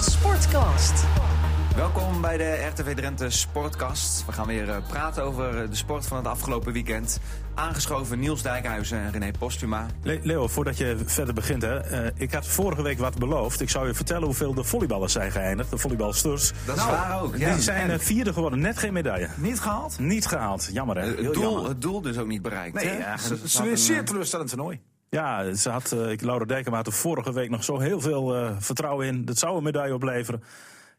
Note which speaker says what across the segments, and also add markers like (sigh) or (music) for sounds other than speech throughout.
Speaker 1: Sportcast.
Speaker 2: Welkom bij de RTV Drenthe Sportcast. We gaan weer eh, praten over eh, de sport van het afgelopen weekend. Aangeschoven Niels Dijkhuizen en René Postuma.
Speaker 3: Le- Leo, voordat je verder begint, hè, eh, ik had vorige week wat beloofd. Ik zou je vertellen hoeveel de volleyballers zijn geëindigd, de volleybalsters.
Speaker 2: Dat is waar ook.
Speaker 3: Die zijn eh, vierde geworden, net geen medaille.
Speaker 2: niet gehaald.
Speaker 3: Niet gehaald, jammer hè. Heel
Speaker 2: Eh, Het doel,
Speaker 3: jammer.
Speaker 2: het doel dus ook niet bereikt.
Speaker 4: Nee,
Speaker 2: hè?
Speaker 4: ja,
Speaker 2: Ze-
Speaker 4: ze,
Speaker 2: ze
Speaker 4: ze
Speaker 2: had
Speaker 4: weer
Speaker 2: een,
Speaker 4: zeer
Speaker 2: eh,
Speaker 4: teleurstellend toernooi.
Speaker 3: Ja, ze had, eh, ik- Laura Dijkema had er vorige week nog zo heel veel eh, vertrouwen in. Dat zou een medaille opleveren.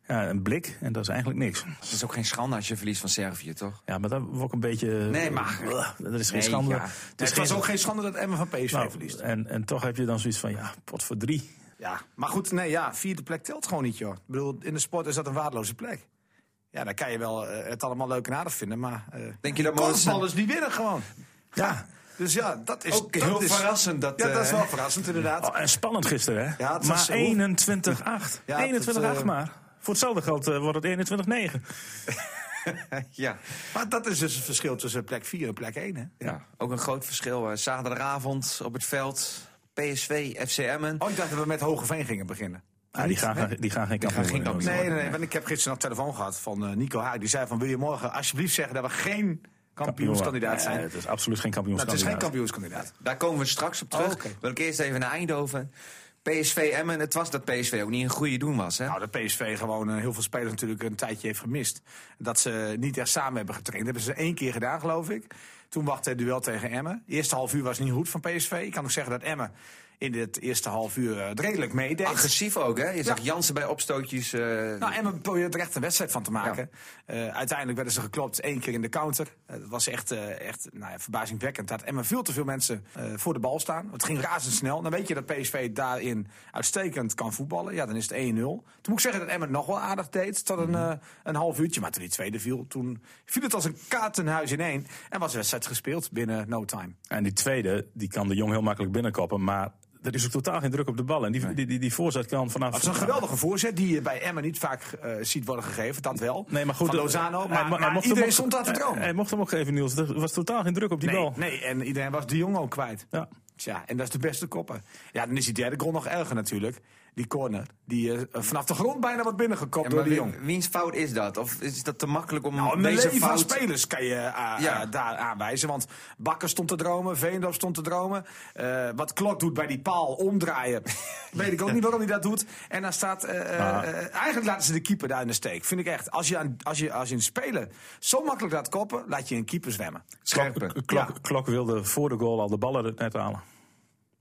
Speaker 3: Ja, een blik en dat is eigenlijk niks.
Speaker 2: Het is ook geen schande als je verliest van Servië, toch?
Speaker 3: Ja, maar dat wordt ook een beetje... eh,
Speaker 2: Nee, maar-
Speaker 3: Er is geen
Speaker 2: Nee,
Speaker 3: schande.
Speaker 2: ja.
Speaker 3: Het is
Speaker 4: het was
Speaker 3: geen-
Speaker 4: ook geen schande dat Emma van PSV
Speaker 3: Nou,
Speaker 4: verliest.
Speaker 3: en, en toch heb je dan zoiets van, ja, pot voor drie.
Speaker 4: Ja, maar goed, nee, ja, vierde plek telt gewoon niet, joh. Ik bedoel, in de sport is dat een waardeloze plek. Ja, dan kan je wel eh, het allemaal leuk en aardig vinden, maar... eh
Speaker 2: Denk je dat
Speaker 4: korfballers die winnen gewoon.
Speaker 3: Ja,
Speaker 4: Dus ja, dat is...
Speaker 2: Ook
Speaker 4: dat
Speaker 2: heel
Speaker 4: is-
Speaker 2: verrassend dat,
Speaker 4: Ja, dat is
Speaker 2: eh,
Speaker 4: wel verrassend, inderdaad.
Speaker 3: Oh, en spannend gisteren, hè?
Speaker 4: Ja, het
Speaker 3: maar
Speaker 4: was
Speaker 3: 21-8.
Speaker 4: zo-
Speaker 3: 21-8
Speaker 4: Ja, dat, eh,
Speaker 3: maar. Voor hetzelfde geld eh, wordt het 21-9.
Speaker 2: Ja.
Speaker 4: Maar dat is dus het verschil tussen plek 4 en plek 1, hè?
Speaker 2: ja, ook een groot verschil. eh, zaterdagavond op het veld, PSV, FC Emmen.
Speaker 4: Oh, ik dacht dat we met Hogeveen gingen beginnen.
Speaker 3: Ah, die, gaan, die gaan geen kampioen
Speaker 2: geen
Speaker 3: worden.
Speaker 2: kampioen.
Speaker 4: Nee, nee, nee, want ik heb gisteren nog telefoon gehad van eh, Nico Haak. Die zei van, wil je morgen alsjeblieft zeggen dat we geen kampioenskandidaat
Speaker 3: Nee,
Speaker 4: zijn?
Speaker 3: het is absoluut geen
Speaker 4: Nou, het is
Speaker 3: kampioenskandidaat.
Speaker 4: geen kampioenskandidaat.
Speaker 2: Daar komen we straks op terug.
Speaker 4: Oh, oké.
Speaker 2: Wil ik eerst even naar Eindhoven. PSV Emmen, het was dat PSV ook niet een goede doen was, hè?
Speaker 4: Nou, dat PSV gewoon eh, heel veel spelers natuurlijk een tijdje heeft gemist. Dat ze niet echt samen hebben getraind. Dat hebben ze één keer gedaan, geloof ik. Toen wachtte het duel tegen Emmen. De eerste half uur was niet goed van PSV. Ik kan ook zeggen dat Emmen in het eerste half uur eh, het redelijk meedeed.
Speaker 2: Agressief ook, hè? Je zag Jansen bij opstootjes. eh,
Speaker 4: Nou, Emmen probeerde er echt een wedstrijd van te maken. Eh, uiteindelijk werden ze geklopt één keer in de counter. Eh, dat was echt, eh, echt nou ja, verbazingwekkend. Dat Emmen veel te veel mensen eh, voor de bal staan. Het ging razendsnel. Dan weet je dat PSV daarin uitstekend kan voetballen. Ja, dan is het 1-0. Toen moet ik zeggen dat Emmen het nog wel aardig deed. Tot een,
Speaker 3: Mhm.
Speaker 4: eh, een half uurtje. Maar toen die tweede viel, toen viel het als een kaartenhuis in één. En was de wedstrijd gespeeld binnen no time.
Speaker 3: En die tweede, die kan de Jong heel makkelijk binnenkoppen. Maar er is ook totaal geen druk op de bal. En die, die, die, die voorzet kan vanaf...
Speaker 4: Het is een geweldige voorzet die je bij Emmen niet vaak eh, ziet worden gegeven. Dat wel.
Speaker 3: Nee, maar goed,
Speaker 4: van
Speaker 3: eh,
Speaker 4: Lozano.
Speaker 3: hij
Speaker 4: Maar,
Speaker 3: mo-
Speaker 4: maar,
Speaker 3: hij mocht hem
Speaker 4: iedereen
Speaker 3: ook-
Speaker 4: stond daar te
Speaker 3: hij-
Speaker 4: dromen.
Speaker 3: Hij mocht hem ook geven, Niels. Er was totaal geen druk op die
Speaker 4: Nee,
Speaker 3: bal.
Speaker 4: nee, en iedereen was de jong ook kwijt.
Speaker 3: Ja.
Speaker 4: Tja, en dat is de beste koppen. Ja, dan is die derde goal nog erger natuurlijk. Die corner, die eh, vanaf de grond bijna wordt binnengekopt
Speaker 2: ja,
Speaker 4: door
Speaker 2: maar
Speaker 4: de
Speaker 2: wie-
Speaker 4: jong.
Speaker 2: wiens fout is dat? Of is dat te makkelijk om
Speaker 4: Nou, een
Speaker 2: deze
Speaker 4: leven van
Speaker 2: fout...
Speaker 4: spelers kan je eh,
Speaker 2: Ja.
Speaker 4: eh, daar aanwijzen. Want Bakker stond te dromen, Veendorp stond te dromen. Eh, wat Klok doet bij die paal,
Speaker 2: (laughs)
Speaker 4: omdraaien. Weet ik ook niet waarom hij dat doet. En dan staat... eh, eh,
Speaker 3: Maar-
Speaker 4: eh, eigenlijk laten ze de keeper daar in de steek. Vind ik echt. Als je, aan, als je, als je een speler zo makkelijk laat koppen, laat je een keeper zwemmen.
Speaker 2: Scherpen.
Speaker 3: Klok,
Speaker 4: Ja.
Speaker 3: Klok wilde voor de goal al de ballen er net halen.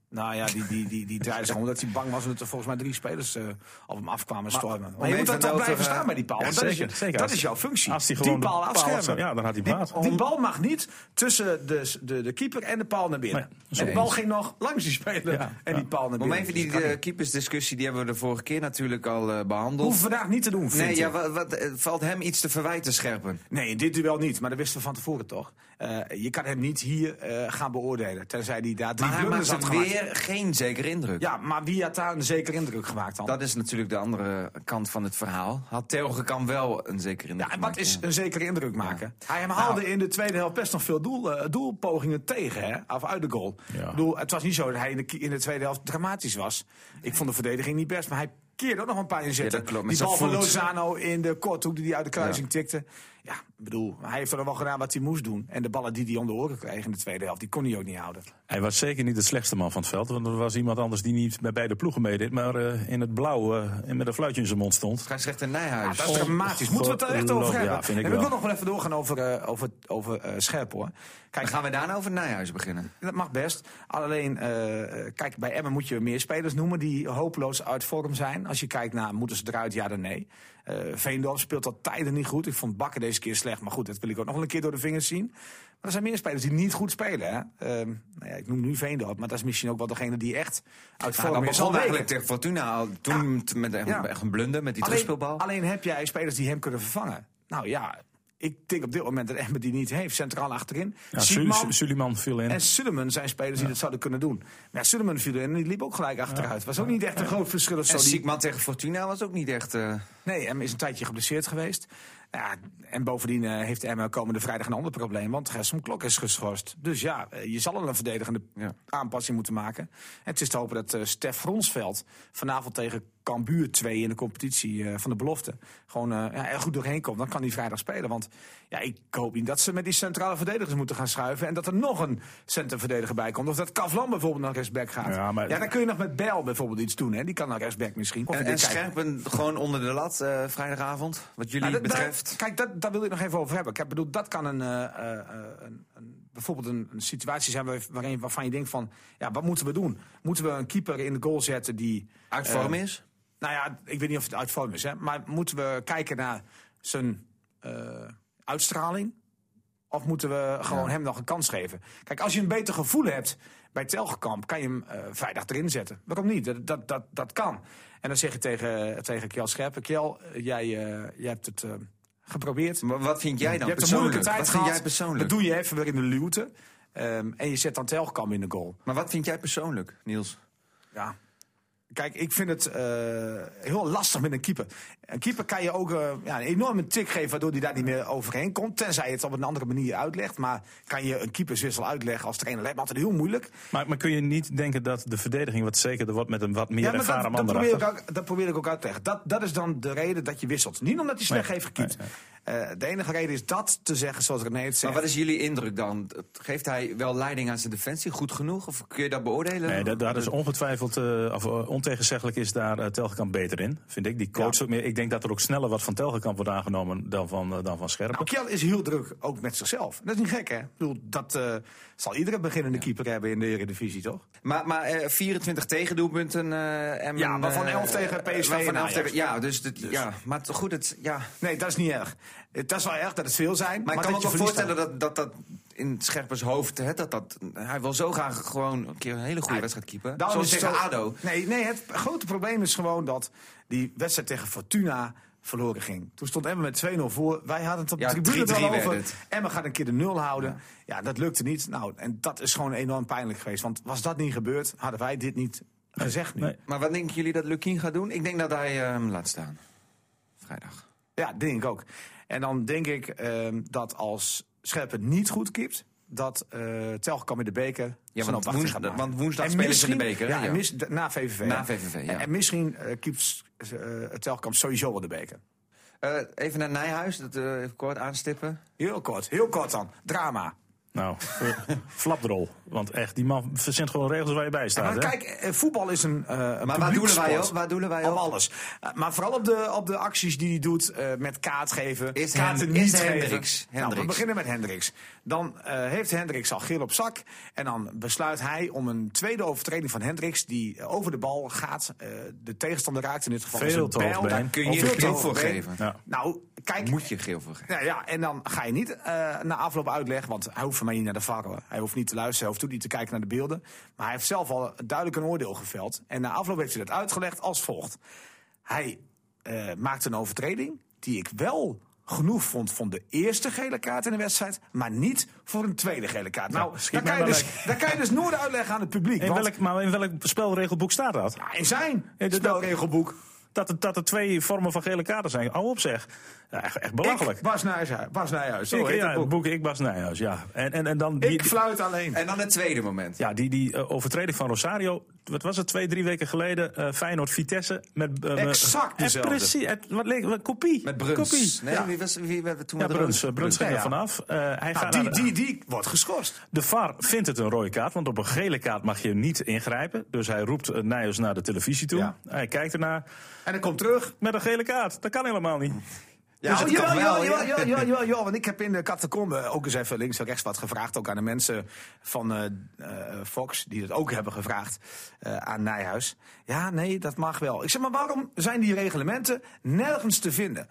Speaker 4: Nou ja, die, die, die, die draaide ze gewoon omdat hij bang was omdat er volgens mij drie spelers eh, op hem afkwamen stormen. Maar,
Speaker 2: om
Speaker 4: je
Speaker 2: even
Speaker 4: moet dat toch
Speaker 2: nou te
Speaker 4: blijven
Speaker 2: gaan-
Speaker 4: staan bij die paal.
Speaker 3: Ja,
Speaker 4: want dat,
Speaker 3: zeker,
Speaker 4: is,
Speaker 3: zeker.
Speaker 4: dat
Speaker 3: Als-
Speaker 4: is jouw functie.
Speaker 3: als die
Speaker 4: die,
Speaker 3: gewoon de
Speaker 4: paal
Speaker 3: paal
Speaker 4: afschermen.
Speaker 3: afschermt, ja, dan had hij
Speaker 4: die,
Speaker 3: baat.
Speaker 4: die bal mag niet tussen de, de, de keeper en de paal naar binnen.
Speaker 3: Nee,
Speaker 4: en de
Speaker 2: eens.
Speaker 4: bal ging nog langs die speler
Speaker 3: Ja,
Speaker 4: en
Speaker 3: ja.
Speaker 4: die paal naar
Speaker 2: Om
Speaker 4: binnen.
Speaker 2: even die
Speaker 4: Dus dat kan
Speaker 2: eh,
Speaker 4: niet.
Speaker 2: keepersdiscussie, die hebben we de vorige keer natuurlijk al eh, behandeld.
Speaker 4: Hoeven we vandaag niet te doen, vind
Speaker 2: nee,
Speaker 4: ik.
Speaker 2: ja, wat, wat, eh, valt hem iets te verwijten, Scherpen?
Speaker 4: Nee, in dit duel niet, maar dat wisten we van tevoren toch. Eh, je kan hem niet hier eh, gaan beoordelen, tenzij hij daar drie
Speaker 2: Maar hij
Speaker 4: blunders
Speaker 2: maakt
Speaker 4: had
Speaker 2: het
Speaker 4: gemaakt.
Speaker 2: weer geen zekere indruk.
Speaker 4: Ja, maar wie had daar een zekere indruk gemaakt dan?
Speaker 2: Dat is natuurlijk de andere kant van het verhaal. Had Telgekamp wel een zekere indruk
Speaker 4: Ja, en wat
Speaker 2: gemaakt,
Speaker 4: is
Speaker 2: ja.
Speaker 4: een zekere indruk maken? Hij hem haalde in de tweede helft best nog veel doel, eh, doelpogingen tegen, hè? of uit de goal.
Speaker 3: Ja.
Speaker 4: Ik bedoel, het was niet zo dat hij in de, ki- in de tweede helft dramatisch was. Ik vond de verdediging niet best, maar hij keerde ook nog een paar inzetten.
Speaker 2: Ja, dat klopt, met
Speaker 4: die bal
Speaker 2: zijn
Speaker 4: van
Speaker 2: voet.
Speaker 4: Lozano in de korthoek die hij uit de kruising tikte. Ja, ik bedoel, hij heeft er wel gedaan wat hij moest doen. En de ballen die hij om de oren kreeg in de tweede helft, die kon hij ook niet houden.
Speaker 3: Hij was zeker niet de slechtste man van het veld. Want er was iemand anders die niet bij beide ploegen meedeed. Maar eh, in het blauw eh, en met een fluitje in zijn mond stond.
Speaker 2: Scheidsrechter Nijhuis.
Speaker 4: Dat is dramatisch. Moeten we het er echt over hebben?
Speaker 3: Ja, vind ik
Speaker 4: en
Speaker 3: wel.
Speaker 4: wil nog wel even doorgaan over, eh, over, over eh, Scherp hoor. Kijk,
Speaker 2: Dan gaan we daarna over Nijhuis beginnen.
Speaker 4: Dat mag best. Alleen, eh, kijk, bij Emmen moet je meer spelers noemen die hopeloos uit vorm zijn. Als je kijkt naar moeten ze eruit, ja dan nee. Eh Veendorp speelt al tijden niet goed. Ik vond Bakker deze keer slecht, maar goed, dat wil ik ook nog wel een keer door de vingers zien. Maar er zijn meer spelers die niet goed spelen. Hè? Ehm, nou ja, ik noem nu Veendorp, maar dat is misschien ook wel degene die echt uit
Speaker 2: Ja, Nou, dat
Speaker 4: vorm is. al
Speaker 2: begon eigenlijk
Speaker 4: weken.
Speaker 2: tegen Fortuna al. Toen t- met echt,
Speaker 4: Ja.
Speaker 2: echt een blunder met die
Speaker 4: Alleen,
Speaker 2: terugspeelbal.
Speaker 4: alleen heb jij spelers die hem kunnen vervangen. Nou ja, ik denk op dit moment dat Emmen die niet heeft. Centraal achterin.
Speaker 3: Ja,
Speaker 4: Siepman-
Speaker 3: Su- Su- Suliman viel in.
Speaker 4: En Sullivan zijn spelers die dat zouden kunnen doen. Ja, Sullivan viel in en die liep ook gelijk achteruit. Was ook niet echt een groot verschil of zo.
Speaker 2: En
Speaker 4: Die-
Speaker 2: Siekman tegen Fortuna was ook niet echt... eh,
Speaker 4: nee, hem is een tijdje geblesseerd geweest. Ja, en bovendien eh, heeft Emma komende vrijdag een ander probleem. Want Gerson Klok is geschorst. Dus ja, eh, je zal er een verdedigende
Speaker 2: Ja.
Speaker 4: aanpassing moeten maken. En het is te hopen dat eh, Stef Ronsveld vanavond tegen Cambuur 2 in de competitie eh, van de belofte gewoon eh, ja, er goed doorheen komt, dan kan hij vrijdag spelen. Want ja, ik hoop niet dat ze met die centrale verdedigers moeten gaan schuiven en dat er nog een centerverdediger bij komt. Of dat Kavlan bijvoorbeeld naar rechtsback gaat.
Speaker 3: Ja,
Speaker 4: Ja,
Speaker 3: maar-
Speaker 4: dan kun je nog met Bel bijvoorbeeld iets doen. Hè? Die kan naar rechtsback misschien. Of
Speaker 2: En,
Speaker 4: je
Speaker 2: Eh, en
Speaker 4: dit kijkt.
Speaker 2: Scherpen gewoon onder de lat eh, vrijdagavond, wat jullie
Speaker 4: Nou, dat- dat-
Speaker 2: betreft.
Speaker 4: kijk, dat, daar wil ik nog even over hebben. Ik bedoel, dat kan een, eh, eh, eh, een, een- bijvoorbeeld een, een situatie zijn waar- waarin, waarvan je denkt van... Ja, wat moeten we doen? Moeten we een keeper in de goal zetten die...
Speaker 2: Uit vorm
Speaker 4: eh,
Speaker 2: is.
Speaker 4: nou ja, ik weet niet of het uit vorm is, hè, maar moeten we kijken naar zijn eh, uitstraling? Of moeten we gewoon hem nog een kans geven? Kijk, als je een beter gevoel hebt bij Telgekamp, kan je hem eh, vrijdag erin zetten. Waarom niet? Dat, dat, dat, dat kan. En dan zeg je tegen, tegen Kjell Scherpen, Kjell, eh, jij, eh, jij hebt het eh, geprobeerd.
Speaker 2: Maar wat vind jij dan
Speaker 4: Je hebt een
Speaker 2: persoonlijk?
Speaker 4: moeilijke tijd
Speaker 2: wat vind jij
Speaker 4: gehad.
Speaker 2: persoonlijk?
Speaker 4: Dat doe je even weer in de luwte. Ehm, en je zet dan Telgekamp in de goal.
Speaker 2: Maar wat vind jij persoonlijk, Niels?
Speaker 4: Ja. Kijk, ik vind het eh, heel lastig met een keeper. Een keeper kan je ook eh, ja, een enorme tik geven, waardoor hij daar niet meer overheen komt. Tenzij je het op een andere manier uitlegt. Maar kan je een keeperswissel uitleggen als trainer? Lijkt me altijd heel moeilijk.
Speaker 3: Maar, maar kun je niet denken dat de verdediging wat zekerder wordt met een wat meer
Speaker 4: maar
Speaker 3: ervaren
Speaker 4: dat,
Speaker 3: man
Speaker 4: dat, probeer ik
Speaker 3: erachter?
Speaker 4: ook, dat probeer ik ook uit te leggen. Dat, dat is dan de reden dat je wisselt. Niet omdat hij slecht
Speaker 3: Nee,
Speaker 4: heeft gekiept.
Speaker 3: nee,
Speaker 4: Eh, de enige reden is dat te zeggen, zoals René het
Speaker 2: Maar
Speaker 4: zegt.
Speaker 2: wat is jullie indruk dan? Geeft hij wel leiding aan zijn defensie? Goed genoeg? Of kun je dat beoordelen?
Speaker 3: Nee, dat, daar is ongetwijfeld, eh, of eh, ontegenzeggelijk is daar eh, Telgekamp beter in, vind ik. Die coach ook meer. Ik denk dat er ook sneller wat van Telgekamp wordt aangenomen dan van, eh, dan van Scherpen.
Speaker 4: Nou, Kjell is heel druk, ook met zichzelf. Dat is niet gek, hè? Ik bedoel, dat eh, zal iedere beginnende keeper hebben in de Eredivisie, toch?
Speaker 2: Maar, maar eh, 24 tegendoelpunten. eh, en,
Speaker 4: Ja, maar van
Speaker 2: eh,
Speaker 4: 11 tegen PSV
Speaker 2: maar Van
Speaker 4: en
Speaker 2: 11
Speaker 4: Ajax.
Speaker 2: tegen, ja, dus, dit- ja, maar t- goed, het, ja. Maar,
Speaker 4: Nee, dat is niet erg. Het dat is wel erg dat het veel zijn. Maar,
Speaker 2: ik kan me
Speaker 4: dat
Speaker 2: ook wel
Speaker 4: je verliest
Speaker 2: voorstellen dat, dat dat in Scherpers hoofd, hè, dat, dat, hij wil zo graag gewoon een keer een hele goede wedstrijd keepen.
Speaker 4: dan. Nou, Daarom
Speaker 2: Zoals
Speaker 4: is het
Speaker 2: tegen
Speaker 4: zo-
Speaker 2: ADO.
Speaker 4: Nee, nee, het grote probleem is gewoon dat die wedstrijd tegen Fortuna verloren ging. Toen stond Emmen met 2-0 voor. Wij hadden het op de
Speaker 2: Ja,
Speaker 4: tribune
Speaker 2: 3-3
Speaker 4: wel
Speaker 2: werd
Speaker 4: over.
Speaker 2: het.
Speaker 4: Emmen gaat een keer de nul houden. Ja. dat lukte niet. Nou, en dat is gewoon enorm pijnlijk geweest. Want was dat niet gebeurd, hadden wij dit niet gezegd nu.
Speaker 3: nee.
Speaker 2: Maar wat denken jullie dat Lukien gaat doen? Ik denk dat hij eh, hem laat staan. Vrijdag.
Speaker 4: Ja, dat denk ik ook. En dan denk ik ehm, dat als Scherpen niet goed kipt, dat eh Telgekamp in de beker
Speaker 2: want
Speaker 4: zijn opwachting
Speaker 2: woens-
Speaker 4: gaat maken.
Speaker 2: want woensdag
Speaker 4: En
Speaker 2: spelen ze in de
Speaker 4: misschien-
Speaker 2: beker, hè?
Speaker 4: Ja, en
Speaker 2: Ja.
Speaker 4: mis- d- na VVV.
Speaker 2: Na
Speaker 4: hè?
Speaker 2: VVV, ja.
Speaker 4: En, en misschien eh kipt eh Telgekamp sowieso wel de beker.
Speaker 2: Eh, even naar Nijhuis, dat eh, even kort aanstippen.
Speaker 4: Heel kort, heel kort dan. Drama. (laughs)
Speaker 3: Nou, eh, flapdrol. Want echt, die man verzint gewoon regels waar je bij staat.
Speaker 4: Maar
Speaker 3: hè?
Speaker 4: kijk, eh, voetbal is een. eh, een
Speaker 2: Maar waar doelen wij
Speaker 4: publieksport.
Speaker 2: op? Waar doelen wij
Speaker 4: Op
Speaker 2: op?
Speaker 4: alles. Eh, maar vooral op de, op de acties die hij doet eh, met kaart geven.
Speaker 2: Is
Speaker 4: kaarten
Speaker 2: Hen- is
Speaker 4: niet
Speaker 2: Hendricks.
Speaker 4: geven. Nou, we
Speaker 2: Hendricks.
Speaker 4: beginnen met Hendricks. Dan eh, heeft Hendricks al geel op zak. En dan besluit hij om een tweede overtreding van Hendricks. die eh, over de bal gaat. eh, de tegenstander raakt in dit geval.
Speaker 3: Veel
Speaker 4: zijn
Speaker 3: te
Speaker 4: pijl.
Speaker 3: hoog been.
Speaker 4: Daar
Speaker 2: Kun je
Speaker 4: veel te
Speaker 2: geel
Speaker 4: hoog
Speaker 2: voor
Speaker 4: been.
Speaker 2: geven.
Speaker 3: Ja.
Speaker 4: Nou, kijk.
Speaker 2: Moet je geel voor geven.
Speaker 4: Nou ja, en dan ga je niet eh, na afloop uitleggen, want hij hoeft van mij niet naar de VAR. hoor. Hij hoeft niet te luisteren, hij hoeft ook niet te kijken naar de beelden. Maar hij heeft zelf al duidelijk een oordeel geveld. En na afloop heeft hij dat uitgelegd als volgt. Hij eh, maakte een overtreding die ik wel genoeg vond van de eerste gele kaart in de wedstrijd, maar niet voor een tweede gele kaart. nou,
Speaker 3: schiet
Speaker 4: daar
Speaker 3: mij
Speaker 4: kan, je
Speaker 3: maar
Speaker 4: dus, daar kan je dus nooit uitleggen aan het publiek.
Speaker 3: In
Speaker 4: want-
Speaker 3: welk, maar in welk spelregelboek staat dat?
Speaker 4: Ja, in zijn
Speaker 3: dat-
Speaker 4: spelregelboek.
Speaker 3: Dat er, dat er twee vormen van gele kaarten zijn. Hou op zeg. Ja, echt, echt belachelijk.
Speaker 4: Ik, Bas Nijhuis, Bas Nijhuis, zo
Speaker 3: Ik-
Speaker 4: heet
Speaker 3: ja,
Speaker 4: dat
Speaker 3: het
Speaker 4: boek.
Speaker 3: boek Ik Bas Nijhuis, ja. En, en, en dan die,
Speaker 4: Ik fluit alleen.
Speaker 2: En dan het tweede moment.
Speaker 3: ja, die, die eh, overtreding van Rosario. Wat was het, twee, drie weken geleden? eh, Feyenoord-Vitesse. Met, eh, met-
Speaker 4: Exact
Speaker 3: eh,
Speaker 4: dezelfde.
Speaker 3: Precies, het, wat, leek- wat, kopie.
Speaker 2: Met Bruns.
Speaker 3: Kopie.
Speaker 2: Nee,
Speaker 3: ja.
Speaker 2: wie, was, wie werd er toen
Speaker 3: Ja,
Speaker 2: met
Speaker 3: Bruns, eh, Bruns ging
Speaker 4: Ja,
Speaker 3: er
Speaker 4: ja.
Speaker 3: vanaf. Eh, hij
Speaker 4: Nou,
Speaker 3: gaat
Speaker 4: die,
Speaker 3: naar de-
Speaker 4: die, die wordt geschorst.
Speaker 3: De VAR vindt het een rode kaart, want op een gele kaart mag je niet ingrijpen. Dus hij roept eh, Nijers naar de televisie toe.
Speaker 4: Ja.
Speaker 3: Hij kijkt ernaar
Speaker 4: En dan komt terug.
Speaker 3: met een gele kaart. Dat kan helemaal niet.
Speaker 4: Ja,
Speaker 2: het
Speaker 4: oh,
Speaker 2: kan
Speaker 4: jawel,
Speaker 2: wel,
Speaker 4: jawel,
Speaker 2: ja.
Speaker 4: jawel, jawel, jawel, jawel, Want ik heb in de catacombe ook eens even links en rechts wat gevraagd. Ook aan de mensen van eh, eh, Fox, die dat ook hebben gevraagd eh, aan Nijhuis. Ja, nee, dat mag wel. Ik zeg, maar waarom zijn die reglementen nergens te vinden?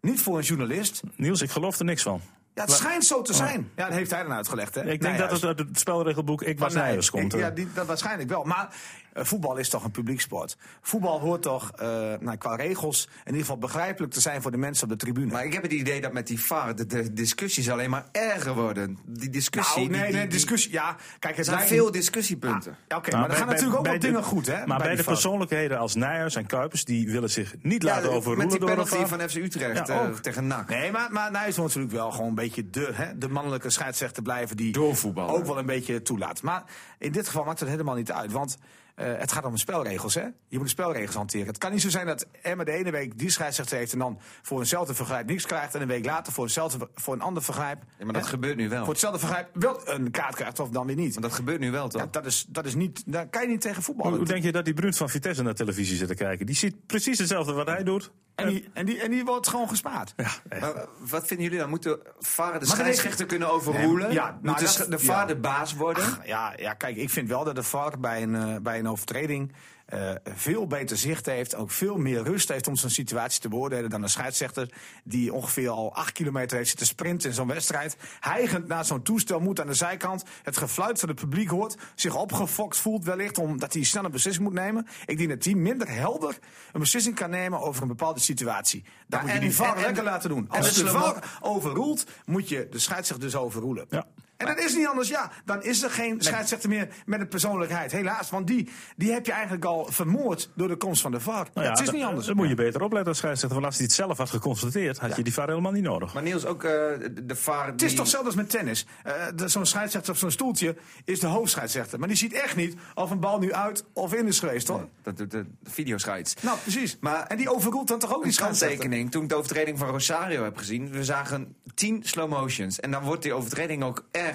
Speaker 4: Niet voor een journalist.
Speaker 3: Niels, ik geloof er niks van.
Speaker 4: Ja, het schijnt zo te zijn. Ja, dat heeft hij dan uitgelegd, hè?
Speaker 3: Ik denk dat
Speaker 4: Nijhuis.
Speaker 3: het uit het spelregelboek Ik was
Speaker 4: Maar Nou nee,
Speaker 3: Nijers komt.
Speaker 4: ik-
Speaker 3: eh.
Speaker 4: Ja, die, dat waarschijnlijk wel. Maar eh, voetbal is toch een publieksport. Voetbal hoort toch eh, nou, qua regels in ieder geval begrijpelijk te zijn voor de mensen op de tribune.
Speaker 2: Maar ik heb het idee dat met die VAR de, de discussies alleen maar erger worden. Die discussie.
Speaker 4: nou, nee,
Speaker 2: die- die-
Speaker 4: nee,
Speaker 2: die-
Speaker 4: discussie. Ja, kijk,
Speaker 2: Er
Speaker 4: het
Speaker 2: zijn
Speaker 4: lijkt
Speaker 2: veel
Speaker 4: niet-
Speaker 2: discussiepunten.
Speaker 4: Ja, Oké,
Speaker 3: Nou,
Speaker 4: maar er
Speaker 3: bij-
Speaker 4: gaan
Speaker 3: bij-
Speaker 4: natuurlijk ook
Speaker 3: bij
Speaker 4: wel
Speaker 3: de-
Speaker 4: dingen goed, hè?
Speaker 3: Maar bij, de
Speaker 4: die fout.
Speaker 3: persoonlijkheden als Nijers en Kuipers, die willen zich niet
Speaker 2: Ja,
Speaker 3: laten overroelen
Speaker 2: met die
Speaker 3: door een
Speaker 2: penalty
Speaker 3: VAR.
Speaker 2: van FC Utrecht
Speaker 3: Ja,
Speaker 2: eh,
Speaker 4: oh.
Speaker 3: ook.
Speaker 2: tegen NAC.
Speaker 4: Nee, maar, maar Nijs wil natuurlijk wel gewoon een beetje de, hè, de mannelijke scheidsrechter blijven. Die
Speaker 2: Doorvoetballen.
Speaker 4: ook wel een beetje toelaat. Maar in dit geval maakt het helemaal niet uit. Want Eh, het gaat om spelregels, hè? Je moet de spelregels hanteren. Het kan niet zo zijn dat Emma de ene week die scheidsrechter heeft... en dan voor eenzelfde vergrijp niks krijgt... en een week later voor, eenzelfde, voor een ander vergrijp...
Speaker 2: Ja, maar dat
Speaker 4: hè,
Speaker 2: gebeurt nu wel.
Speaker 4: voor hetzelfde vergrijp wel een kaart krijgt of dan weer niet.
Speaker 2: Maar dat gebeurt nu wel, toch?
Speaker 4: Ja, dat is, dat is niet, daar kan je niet tegen
Speaker 3: Hoe,
Speaker 4: voetballen.
Speaker 3: hoe denk je dat die Brunt van Vitesse naar televisie zit te kijken? Die ziet precies hetzelfde wat hij doet.
Speaker 4: en,
Speaker 2: Eh.
Speaker 4: die, en, die, en die wordt gewoon gespaard.
Speaker 3: Ja, echt.
Speaker 2: Maar wat vinden jullie dan? Moeten VAR de
Speaker 4: dat
Speaker 2: scheidsrechter kunnen overroelen?
Speaker 4: Nee, ja, nou,
Speaker 2: Moet de,
Speaker 4: dat-
Speaker 2: sch- de
Speaker 4: ja.
Speaker 2: VAR de baas worden?
Speaker 4: Ja, ja, kijk, ik vind wel dat de VAR bij een, eh, bij een overtreding eh, veel beter zicht heeft. Ook veel meer rust heeft om zo'n situatie te beoordelen dan een scheidsrechter. Die ongeveer al acht kilometer heeft zitten sprinten in zo'n wedstrijd. Hijgend naar zo'n toestel moet aan de zijkant. Het gefluit van het publiek hoort. Zich opgefokt voelt wellicht omdat hij snel een beslissing moet nemen. Ik denk dat hij minder helder een beslissing kan nemen over een bepaalde situatie.
Speaker 2: Ja,
Speaker 4: Daar moet je
Speaker 2: en-
Speaker 4: die VAR
Speaker 2: en- en-
Speaker 4: lekker laten doen.
Speaker 2: en
Speaker 4: Als
Speaker 2: de
Speaker 4: de
Speaker 2: slow-mo-
Speaker 4: VAR overroelt, moet je de scheidsrechter dus overroelen.
Speaker 3: Ja.
Speaker 4: En dat is niet anders, ja. Dan is er geen scheidsrechter meer met een persoonlijkheid. Helaas, want die, die heb je eigenlijk al vermoord door de komst van de VAR.
Speaker 3: Nou ja,
Speaker 4: het is
Speaker 3: dan-
Speaker 4: niet anders.
Speaker 3: Dan moet je beter opletten als scheidsrechter. Want als hij het zelf had geconstateerd, had je die VAR helemaal niet nodig.
Speaker 2: Maar Niels, ook eh, de- de VAR...
Speaker 4: Het is toch zelfs als met tennis. Eh, de- zo'n scheidsrechter op zo'n stoeltje is de hoofdscheidsrechter. Maar die ziet echt niet of een bal nu uit of in is geweest, hoor.
Speaker 2: Dat doet de videoscheids.
Speaker 4: Nou, precies.
Speaker 2: Maar-
Speaker 4: en die overroelt dan toch ook die
Speaker 2: Een
Speaker 4: scheidsrechter?
Speaker 2: kanttekening, toen ik de overtreding van Rosario heb gezien, we zagen tien slow motions. En dan wordt die overtreding ook erger.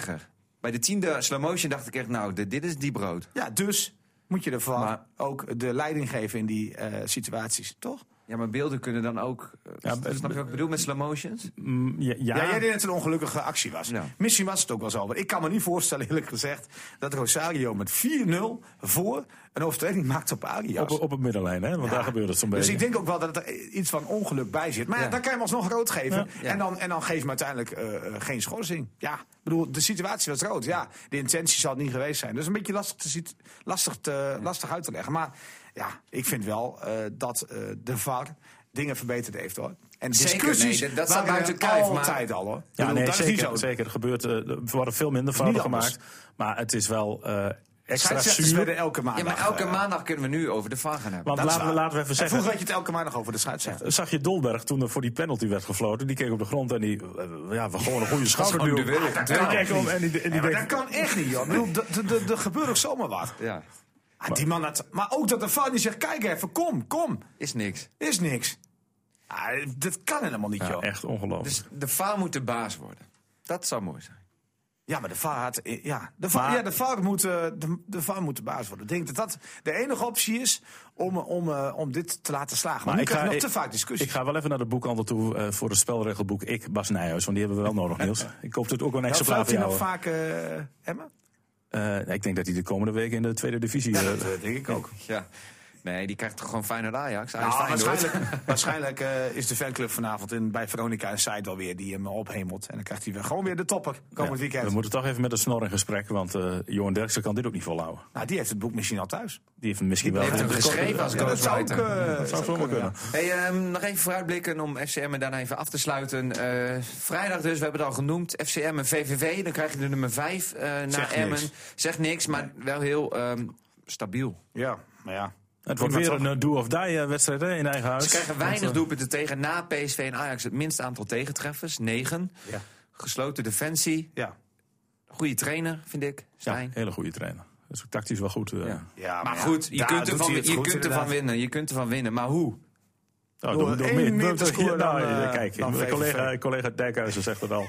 Speaker 2: Bij de tiende slow motion dacht ik echt, nou, dit, dit is die brood.
Speaker 4: Ja, dus moet je de VAR
Speaker 2: Maar-
Speaker 4: ook de leiding geven in die eh, situaties, toch?
Speaker 2: Ja, maar beelden kunnen dan ook... eh,
Speaker 3: Ja,
Speaker 2: snap je wat ik bedoel met slow motions?
Speaker 3: Mm, ja, ja.
Speaker 4: Ja, jij deed net een ongelukkige actie was.
Speaker 2: Ja.
Speaker 4: Misschien was het ook wel zo. Maar ik kan me niet voorstellen, eerlijk gezegd, dat Rosario met 4-0 voor een overtreding maakt op Arias.
Speaker 3: op, op het middenlijn, hè? want daar gebeurt het zo'n beetje.
Speaker 4: dus ik denk ook wel dat er iets van ongeluk bij zit. Maar ja,
Speaker 2: Ja.
Speaker 4: dan kan je hem alsnog rood geven.
Speaker 2: Ja.
Speaker 4: En, dan, en dan geef je hem uiteindelijk eh, eh, geen schorsing. Ja, ik bedoel, de situatie was rood. Ja, de intentie zal het niet geweest zijn. Dus een beetje lastig, te ziet- lastig, te, lastig uit te leggen. Maar ja, ik vind wel eh, dat eh, de VAR dingen verbeterd heeft hoor. En
Speaker 2: Zeker,
Speaker 4: discussies,
Speaker 2: nee, dat- dat staat
Speaker 4: waren er
Speaker 2: buiten kijf, maar-
Speaker 4: Altijd al hoor. Ik
Speaker 3: Ja,
Speaker 4: bedoel,
Speaker 3: nee,
Speaker 4: dat is niet zo.
Speaker 3: zeker. zeker. Er, gebeurt, eh, er worden veel minder fouten
Speaker 4: Niet anders.
Speaker 3: gemaakt. Maar het is wel eh, extra
Speaker 4: Scheidsrechters werden
Speaker 3: zuur.
Speaker 4: elke
Speaker 2: Ja,
Speaker 4: maandag.
Speaker 2: maar elke
Speaker 4: eh,
Speaker 2: maandag kunnen we nu over de VAR gaan hebben.
Speaker 3: Want
Speaker 4: dat is
Speaker 3: laten we,
Speaker 4: waar.
Speaker 3: laten we even
Speaker 4: en
Speaker 3: zeggen.
Speaker 4: vroeger had je het elke maandag over de scheidsrechter.
Speaker 3: Zag je Dolberg toen er voor die penalty werd gefloten? Die keek op de grond en die. eh, ja, we gewoon een goede schouderduw.
Speaker 2: gewoon duel.
Speaker 3: En die keek om en die, en die
Speaker 4: Ja, maar
Speaker 3: denkt,
Speaker 4: dat kan echt niet, joh. Ik bedoel, d- d- d- Er gebeurt ook zomaar wat.
Speaker 2: Ja,
Speaker 4: Ah, die man had, maar ook dat de VAR die zegt, kijk even, kom, kom.
Speaker 2: is niks.
Speaker 4: Is niks. Ah, dat kan helemaal niet,
Speaker 3: Ja,
Speaker 4: joh.
Speaker 3: echt ongelooflijk.
Speaker 2: Dus de VAR moet de baas worden. Dat zou mooi zijn.
Speaker 4: Ja, maar de VAR, had, eh, ja, de VAR,
Speaker 3: Maar-
Speaker 4: ja, de VAR, moet, eh, de, de VAR moet de baas worden. Ik denk dat dat de enige optie is om, eh, om, eh, om dit te laten slagen. Maar, nu krijg je nog te vaak discussie.
Speaker 3: Ik ga wel even naar de boekhandel toe eh, voor het spelregelboek. Ik, Bas Nijhuis, want die hebben we wel nodig,
Speaker 4: (laughs)
Speaker 3: Niels. Ik hoop dat ook wel een
Speaker 4: Nou,
Speaker 3: exemplaar
Speaker 4: fluit
Speaker 3: voor
Speaker 4: hij
Speaker 3: jou.
Speaker 4: nog vaak, eh Emma?
Speaker 3: eh, eh, ik denk dat hij de komende weken in de tweede divisie...
Speaker 4: (laughs)
Speaker 3: eh,
Speaker 4: denk ik ook.
Speaker 2: Ja. Nee, die krijgt toch gewoon Feyenoord Ajax? Ajax
Speaker 4: Nou,
Speaker 2: Feyenoord.
Speaker 3: (laughs)
Speaker 4: waarschijnlijk waarschijnlijk eh, is de fanclub vanavond in, bij Veronica en Seid alweer die hem ophemelt. En dan krijgt hij weer gewoon weer de topper komend
Speaker 3: ja,
Speaker 4: weekend.
Speaker 3: we moeten toch even met de snor in gesprek, want eh Johan Derksen kan dit ook niet volhouden.
Speaker 4: Nou, die heeft het boek misschien al thuis.
Speaker 3: Die heeft hem misschien wel...
Speaker 2: Die heeft hem geschreven als
Speaker 4: Ja, dat zou ook,
Speaker 2: ghostwriter.
Speaker 4: eh,
Speaker 3: zou zomaar kunnen.
Speaker 2: Hey, ehm, nog even vooruitblikken om FCM en daarna even af te sluiten. Eh, vrijdag dus, we hebben het al genoemd. FCM en VVV, dan krijg je de nummer 5 naar
Speaker 4: Zegt
Speaker 2: Emmen.
Speaker 4: niks.
Speaker 2: Zegt niks, maar wel heel ehm, stabiel.
Speaker 4: ja, maar ja.
Speaker 3: Het wordt
Speaker 4: Maar
Speaker 3: weer
Speaker 4: toch-
Speaker 3: een eh, do-of-die-wedstrijd in eigen huis. eh,
Speaker 2: Ze krijgen weinig doelpunten tegen na PSV en Ajax. Het minste aantal tegentreffers, 9.
Speaker 4: Ja.
Speaker 2: Gesloten defensie,
Speaker 4: Ja.
Speaker 2: goede trainer, vind ik,
Speaker 3: Ja,
Speaker 2: Stijn.
Speaker 3: hele goede trainer. Dat is ook tactisch wel goed. eh.
Speaker 2: Ja.
Speaker 4: Ah, Ja,
Speaker 2: Maar goed, je
Speaker 4: daar
Speaker 2: kunt,
Speaker 4: doet
Speaker 2: ervan,
Speaker 4: hij het
Speaker 2: je
Speaker 4: goed,
Speaker 2: kunt ervan
Speaker 4: inderdaad.
Speaker 2: winnen. Je kunt ervan winnen, maar hoe?
Speaker 3: Nou,
Speaker 4: Door
Speaker 3: door, door
Speaker 4: één
Speaker 3: meer.
Speaker 4: meer
Speaker 3: door-
Speaker 4: te scoren
Speaker 3: nou,
Speaker 4: dan, eh,
Speaker 3: kijk,
Speaker 4: dan
Speaker 3: mijn
Speaker 4: VVV.
Speaker 3: collega, collega Dijkhuizen zegt
Speaker 4: (laughs)
Speaker 3: het al.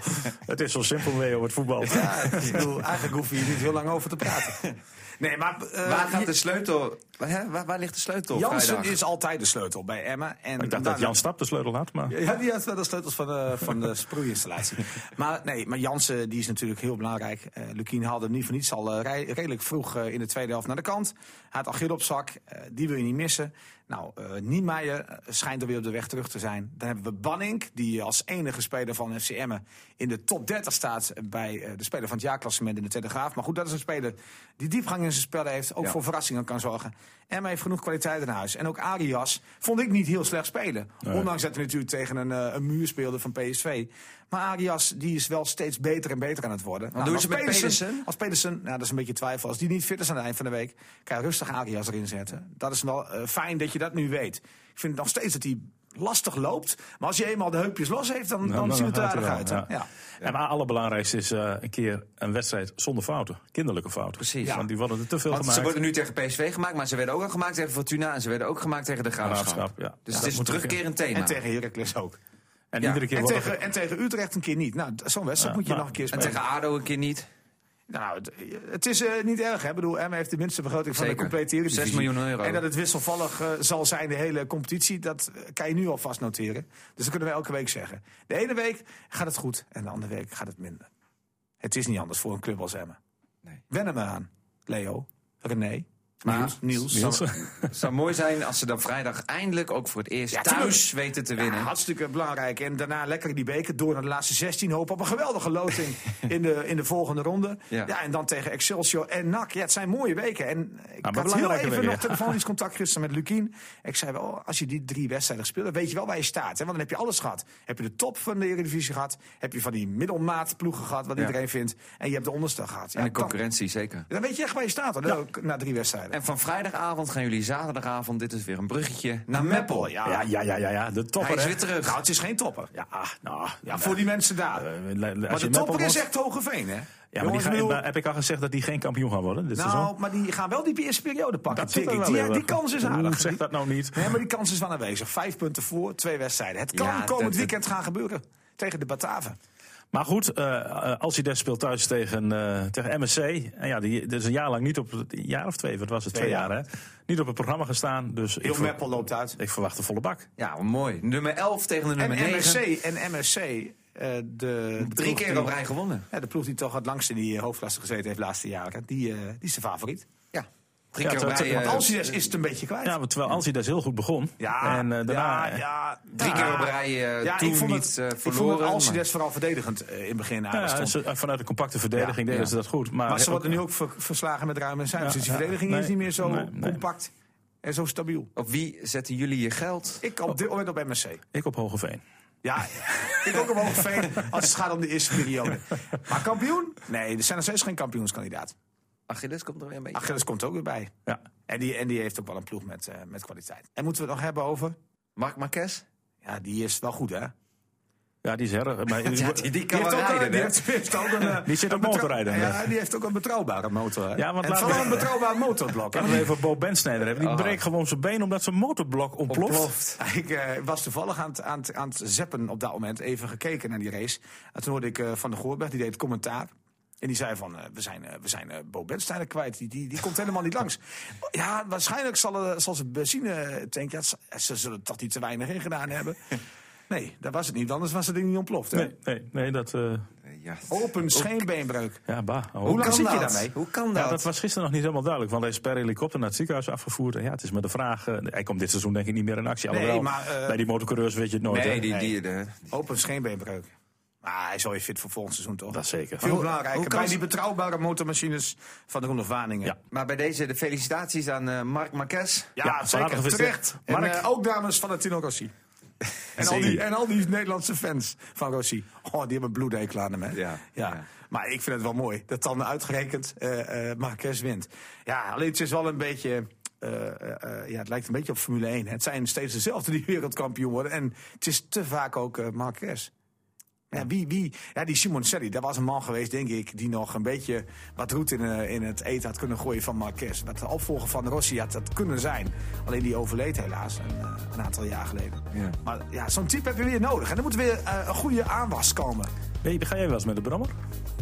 Speaker 3: het is zo simpel mee over het voetbal.
Speaker 4: Ik bedoel, eigenlijk hoef je hier niet heel lang over te praten. (laughs) Nee, maar... eh,
Speaker 2: Waar gaat de sleutel? Hè? Waar, waar ligt de sleutel?
Speaker 4: Jansen
Speaker 2: vrijdag?
Speaker 4: is altijd de sleutel bij Emma. En
Speaker 3: Ik dacht dat
Speaker 4: daarna-
Speaker 3: Jan Stap de sleutel had, maar...
Speaker 4: Ja, die had wel de sleutels van de, van de (laughs) sproeiinstallatie. Maar nee, maar Jansen die is natuurlijk heel belangrijk. Eh Lukien haalde hem niet voor niets al eh, rij- redelijk vroeg eh, in de tweede helft naar de kant. Hij had Achille op zak, eh, die wil je niet missen. Nou, eh Niemeyer eh, schijnt er weer op de weg terug te zijn. Dan hebben we Banning, die als enige speler van FC Emmen in de top 30 staat bij eh, de speler van het jaarklassement in de Telegraaf. Maar goed, dat is een speler die diepgang in zijn spel heeft, ook
Speaker 2: Ja.
Speaker 4: voor verrassingen kan zorgen. Emmen heeft genoeg kwaliteit in huis. En ook Arias vond ik niet heel slecht spelen. Ondanks dat hij natuurlijk tegen een, eh, een muur speelde van PSV. Maar Arias die is wel steeds beter en beter aan het worden. Nou,
Speaker 2: doen
Speaker 4: als
Speaker 2: ze met Pedersen?
Speaker 4: Als Pedersen, nou, dat is een beetje twijfel. Als die niet fit is aan het eind van de week, kan je rustig Arias erin zetten. Dat is wel eh, fijn dat je dat nu weet. Ik vind nog steeds dat hij lastig loopt. Maar als je eenmaal de heupjes los heeft, dan,
Speaker 3: Nou,
Speaker 4: dan,
Speaker 3: dan
Speaker 4: ziet het er
Speaker 3: gaat hij
Speaker 4: aardig
Speaker 3: wel,
Speaker 4: uit. hè?
Speaker 3: ja.
Speaker 4: Ja.
Speaker 3: En maar het allerbelangrijkste is eh, een keer een wedstrijd zonder fouten. Kinderlijke fouten.
Speaker 2: Precies.
Speaker 3: Want die worden er te veel
Speaker 2: Want ze
Speaker 3: gemaakt.
Speaker 2: worden nu tegen PSV gemaakt, maar ze werden ook al gemaakt tegen Fortuna en ze werden ook gemaakt tegen de Graafschap.
Speaker 3: Graafschap, ja.
Speaker 2: Dus
Speaker 3: Ja,
Speaker 2: het
Speaker 3: dat
Speaker 2: is een
Speaker 3: moet ook, ja.
Speaker 2: terugkerend thema.
Speaker 4: En tegen Heracles ook.
Speaker 3: En
Speaker 2: Ja.
Speaker 3: iedere keer
Speaker 4: En
Speaker 3: wordt er-
Speaker 4: tegen, en tegen Utrecht een keer niet. Nou, d- zo'n wedstrijd
Speaker 3: Ja,
Speaker 4: moet je
Speaker 3: maar-
Speaker 4: nog een keer
Speaker 2: En
Speaker 4: spelen.
Speaker 2: tegen ADO een keer niet.
Speaker 4: Nou, het, het is eh, niet erg. Hè? Ik bedoel, Emma heeft de minste vergroting van
Speaker 2: Zeker.
Speaker 4: de complete Eredivisie.
Speaker 2: 6 miljoen euro.
Speaker 4: En dat het wisselvallig eh, zal zijn, de hele competitie, dat eh, kan je nu alvast noteren. Dus dat kunnen we elke week zeggen. De ene week gaat het goed en de andere week gaat het minder. Het is niet anders voor een club als Emma.
Speaker 2: Nee.
Speaker 4: Wen er maar aan, Leo, René,
Speaker 2: Maar-
Speaker 4: Niels. Niels.
Speaker 3: Niels.
Speaker 2: Het zou mooi zijn als ze dan vrijdag eindelijk ook voor het eerst
Speaker 4: Ja,
Speaker 2: thuis
Speaker 4: tuurlijk.
Speaker 2: weten te
Speaker 4: Ja,
Speaker 2: winnen.
Speaker 4: hartstikke belangrijk. En daarna lekker die beker door naar de laatste 16. Hopen op een geweldige
Speaker 2: (laughs)
Speaker 4: loting in, de, in de volgende ronde.
Speaker 2: Ja.
Speaker 4: Ja. en dan tegen Excelsior en NAC. Ja, het zijn mooie weken. En
Speaker 2: Nou,
Speaker 4: ik
Speaker 3: maar
Speaker 4: had heel
Speaker 3: belangrijke
Speaker 4: even
Speaker 3: weken.
Speaker 4: nog telefonisch contact gisteren met Lukien. Ik zei wel, als je die drie wedstrijden speelt, dan weet je wel waar je staat. Hè? Want dan heb je alles gehad. Heb je de top van de Eredivisie gehad. Heb je van die middelmaat ploegen gehad, wat
Speaker 2: Ja.
Speaker 4: iedereen vindt. En je hebt de onderste gehad.
Speaker 2: En
Speaker 4: Ja,
Speaker 2: de
Speaker 4: dan,
Speaker 2: concurrentie zeker.
Speaker 4: dan weet je echt waar je staat hoor, na drie wedstrijden.
Speaker 2: En van vrijdagavond gaan jullie zaterdagavond, dit is weer een bruggetje, naar Meppel.
Speaker 4: ja.
Speaker 3: ja, ja, ja, ja, ja, de
Speaker 2: Hij
Speaker 3: topper.
Speaker 2: is
Speaker 3: hè?
Speaker 2: weer terug.
Speaker 4: Nou, het is geen topper. Ja,
Speaker 3: Ah, nou, ja,
Speaker 4: voor die mensen daar.
Speaker 3: eh, le- le- als
Speaker 4: maar
Speaker 3: je
Speaker 4: de
Speaker 3: Meppel
Speaker 4: topper is
Speaker 3: wordt-
Speaker 4: echt Hogeveen,
Speaker 3: Ja,
Speaker 4: hè?
Speaker 3: maar die
Speaker 4: Jongens,
Speaker 3: gaan,
Speaker 4: ik bedoel-
Speaker 3: maar heb ik al gezegd dat die geen kampioen gaan worden dit seizoen?
Speaker 4: Nou, maar die gaan wel die eerste periode pakken.
Speaker 3: zit
Speaker 4: denk
Speaker 3: er
Speaker 4: ik.
Speaker 3: wel
Speaker 4: Die,
Speaker 3: heel
Speaker 4: die
Speaker 3: erg.
Speaker 4: kans is
Speaker 3: Oeh,
Speaker 4: aardig.
Speaker 3: Zeg dat nou niet.
Speaker 4: Nee, maar die kans is wel aanwezig. Vijf punten voor, twee wedstrijden. Het kan
Speaker 2: Ja,
Speaker 4: komend
Speaker 2: dat-
Speaker 4: weekend gaan gebeuren. Tegen de Bataven.
Speaker 3: Maar goed, eh, eh, als hij des speelt thuis tegen, eh tegen MSC. En ja, die, dat is een jaar lang niet op het een jaar of twee, wat was het? Twee,
Speaker 4: Twee
Speaker 3: jaar, hè? Niet op het programma gestaan. Dus ik,
Speaker 4: Heel
Speaker 3: ver-
Speaker 4: Meppel loopt uit.
Speaker 3: ik verwacht een volle bak.
Speaker 2: Ja, mooi. Nummer 11 tegen de
Speaker 4: En
Speaker 2: nummer 9.
Speaker 4: MSC, en MSC eh, de,
Speaker 2: Drie
Speaker 4: ploeg
Speaker 2: keer
Speaker 4: die-
Speaker 2: op rij gewonnen.
Speaker 4: Ja, de ploeg die toch het langst in die eh, hoofdklasse gezeten heeft de laatste jaren. Die, eh, die is de favoriet.
Speaker 2: Ja. Drie keer
Speaker 3: Ja,
Speaker 2: op
Speaker 3: terwijl-
Speaker 2: rij.
Speaker 3: terwijl-
Speaker 4: Want
Speaker 2: eh,
Speaker 4: Alcides is het een beetje kwijt.
Speaker 3: Ja, maar terwijl Ansidas heel goed begon.
Speaker 4: Ja,
Speaker 3: en eh, daarna.
Speaker 4: ja, ja,
Speaker 2: Drie
Speaker 4: ja.
Speaker 2: keer op rij eh,
Speaker 4: Ja,
Speaker 2: toen
Speaker 4: ik vond
Speaker 2: niet
Speaker 4: het, dus-
Speaker 2: eh,
Speaker 4: ik vond
Speaker 2: verloren.
Speaker 4: het
Speaker 2: maar-
Speaker 4: Alcides vooral verdedigend eh, in het begin aan
Speaker 3: Ja,
Speaker 4: stond.
Speaker 3: ze- vanuit de compacte verdediging
Speaker 4: Ja,
Speaker 3: deden
Speaker 2: ja.
Speaker 3: ze dat goed. Maar,
Speaker 4: Maar ze worden nu ook ver- verslagen met ruim en zijn.
Speaker 3: Ja,
Speaker 4: dus die
Speaker 3: ja,
Speaker 4: verdediging
Speaker 3: nee,
Speaker 4: is niet meer zo
Speaker 3: nee, nee.
Speaker 4: compact en zo stabiel.
Speaker 2: Op wie zetten jullie je geld?
Speaker 4: Ik op dit moment op MSC.
Speaker 3: Ik op Hogeveen.
Speaker 4: Ja, (laughs) ik ook omhoog veen als het gaat om de eerste periode. Maar kampioen? Nee, er zijn nog steeds geen kampioenskandidaat.
Speaker 2: Achilles komt er weer een beetje.
Speaker 4: Achilles komt ook weer bij.
Speaker 3: Ja.
Speaker 4: En die, en die heeft ook wel een ploeg met, eh, met kwaliteit. En moeten we het nog hebben over?
Speaker 2: Mark Marquez?
Speaker 4: Ja, die is wel goed, hè?
Speaker 3: Ja, die is
Speaker 4: (laughs)
Speaker 3: her. Maar
Speaker 2: Ja, die, die kan
Speaker 4: die
Speaker 2: wel
Speaker 4: heeft ook
Speaker 2: rijden,
Speaker 4: een, die
Speaker 2: hè?
Speaker 4: heeft, heeft ook een, eh,
Speaker 3: Die zit
Speaker 4: een
Speaker 3: op
Speaker 4: betrouw-
Speaker 3: (laughs) motorrijden.
Speaker 4: Ja, die heeft ook een betrouwbare motor. Hè?
Speaker 3: Ja, want
Speaker 4: en
Speaker 3: laten
Speaker 4: vooral
Speaker 3: we-
Speaker 4: een betrouwbaar motorblok. hè?
Speaker 3: Laten we even Bo Bensnijder hebben. Die
Speaker 2: Oh.
Speaker 3: breekt gewoon zijn been omdat zijn motorblok ontploft.
Speaker 2: Ontploft.
Speaker 4: (laughs) Ik eh, was toevallig aan het, aan, het, aan het zappen op dat moment, even gekeken naar die race. En toen hoorde ik eh, Van de Goorberg, die deed commentaar. En die zei van, eh, we zijn, eh, we zijn eh, Bo Bensteiner kwijt, die, die, die komt helemaal niet langs. Ja, waarschijnlijk zal, eh, zal ze benzine tank, ja, ze- ze zullen toch niet te weinig in gedaan hebben. Nee, dat was het niet, anders was het ding niet ontploft. Hè?
Speaker 3: Nee, nee, nee, dat. eh,
Speaker 2: Ja.
Speaker 4: Open scheenbeenbreuk.
Speaker 3: ja, bah. oh.
Speaker 2: Hoe
Speaker 4: lang
Speaker 2: kan
Speaker 4: zit je
Speaker 2: dat?
Speaker 4: daarmee?
Speaker 2: Hoe kan
Speaker 3: Ja,
Speaker 2: dat?
Speaker 3: dat was gisteren nog niet helemaal duidelijk, want hij is per helikopter naar het ziekenhuis afgevoerd. En ja, het is maar de vraag, eh, hij komt dit seizoen denk ik niet meer in actie.
Speaker 4: Nee,
Speaker 3: Alhoewel,
Speaker 4: maar, eh,
Speaker 3: bij die motorcoureurs weet je het nooit. hè?
Speaker 2: Nee, die,
Speaker 4: Nee.
Speaker 2: die, de,
Speaker 4: Open scheenbeenbreuk. Maar hij is alweer fit voor volgend seizoen, toch?
Speaker 3: Dat zeker.
Speaker 4: Veel
Speaker 3: Maar
Speaker 2: hoe-
Speaker 4: belangrijker,
Speaker 2: hoe kan
Speaker 4: bij
Speaker 2: ze-
Speaker 4: die betrouwbare motormachines van de Ronde van Waningen.
Speaker 3: Ja.
Speaker 2: Maar bij deze de felicitaties aan eh, Mark Marquez.
Speaker 4: Ja,
Speaker 3: Ja, van harte
Speaker 4: zeker.
Speaker 3: gefeliciteerd.
Speaker 4: Terecht. En,
Speaker 3: Mark.
Speaker 4: eh, ook dames van Tino Rossi. En al, die,
Speaker 3: Zeker.
Speaker 4: en al die Nederlandse fans van Rossi. Oh, die hebben bloedhekel aan hem, hè?
Speaker 2: Ja, ja.
Speaker 4: Maar ik vind het wel mooi dat dan uitgerekend eh eh Marquez wint. Ja, alleen het is wel een beetje... eh, eh, eh, ja, het lijkt een beetje op Formule 1. hè. Het zijn steeds dezelfde die (laughs) wereldkampioen worden. En het is te vaak ook eh, Marquez. Ja, wie, wie, ja, die Simon Selly, dat was een man geweest, denk ik, die nog een beetje wat roet in, eh, in het eten had kunnen gooien van Marquez. Wat de opvolger van Rossi had dat kunnen zijn. Alleen die overleed helaas een, eh, een aantal jaar geleden.
Speaker 2: Ja.
Speaker 4: Maar ja, zo'n type heb je weer nodig. En er moet weer eh, een goede aanwas komen.
Speaker 3: Nee, ga jij wel eens met de brommer,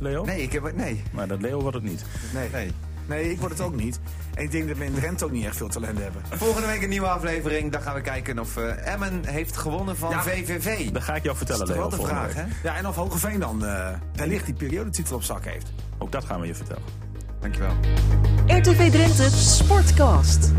Speaker 3: Leo?
Speaker 2: Nee, ik heb het. Nee.
Speaker 3: Maar dat Leo wordt het niet.
Speaker 4: Nee. nee.
Speaker 2: nee.
Speaker 4: ik word het ook niet. En ik denk dat we in Drenthe ook niet echt veel talent hebben.
Speaker 2: Volgende week een nieuwe aflevering. Dan gaan we kijken of eh, Emmen heeft gewonnen van
Speaker 4: Ja.
Speaker 2: VVV.
Speaker 3: Dat ga ik jou vertellen,
Speaker 2: Dat is
Speaker 3: Leo.
Speaker 2: wel de
Speaker 3: volgende
Speaker 2: vraag,
Speaker 3: week.
Speaker 2: hè?
Speaker 4: Ja, en of Hogeveen dan eh, wellicht die periodetitel op zak heeft.
Speaker 3: Ook dat gaan we je vertellen.
Speaker 2: Dankjewel.
Speaker 1: RTV Drenthe Sportcast.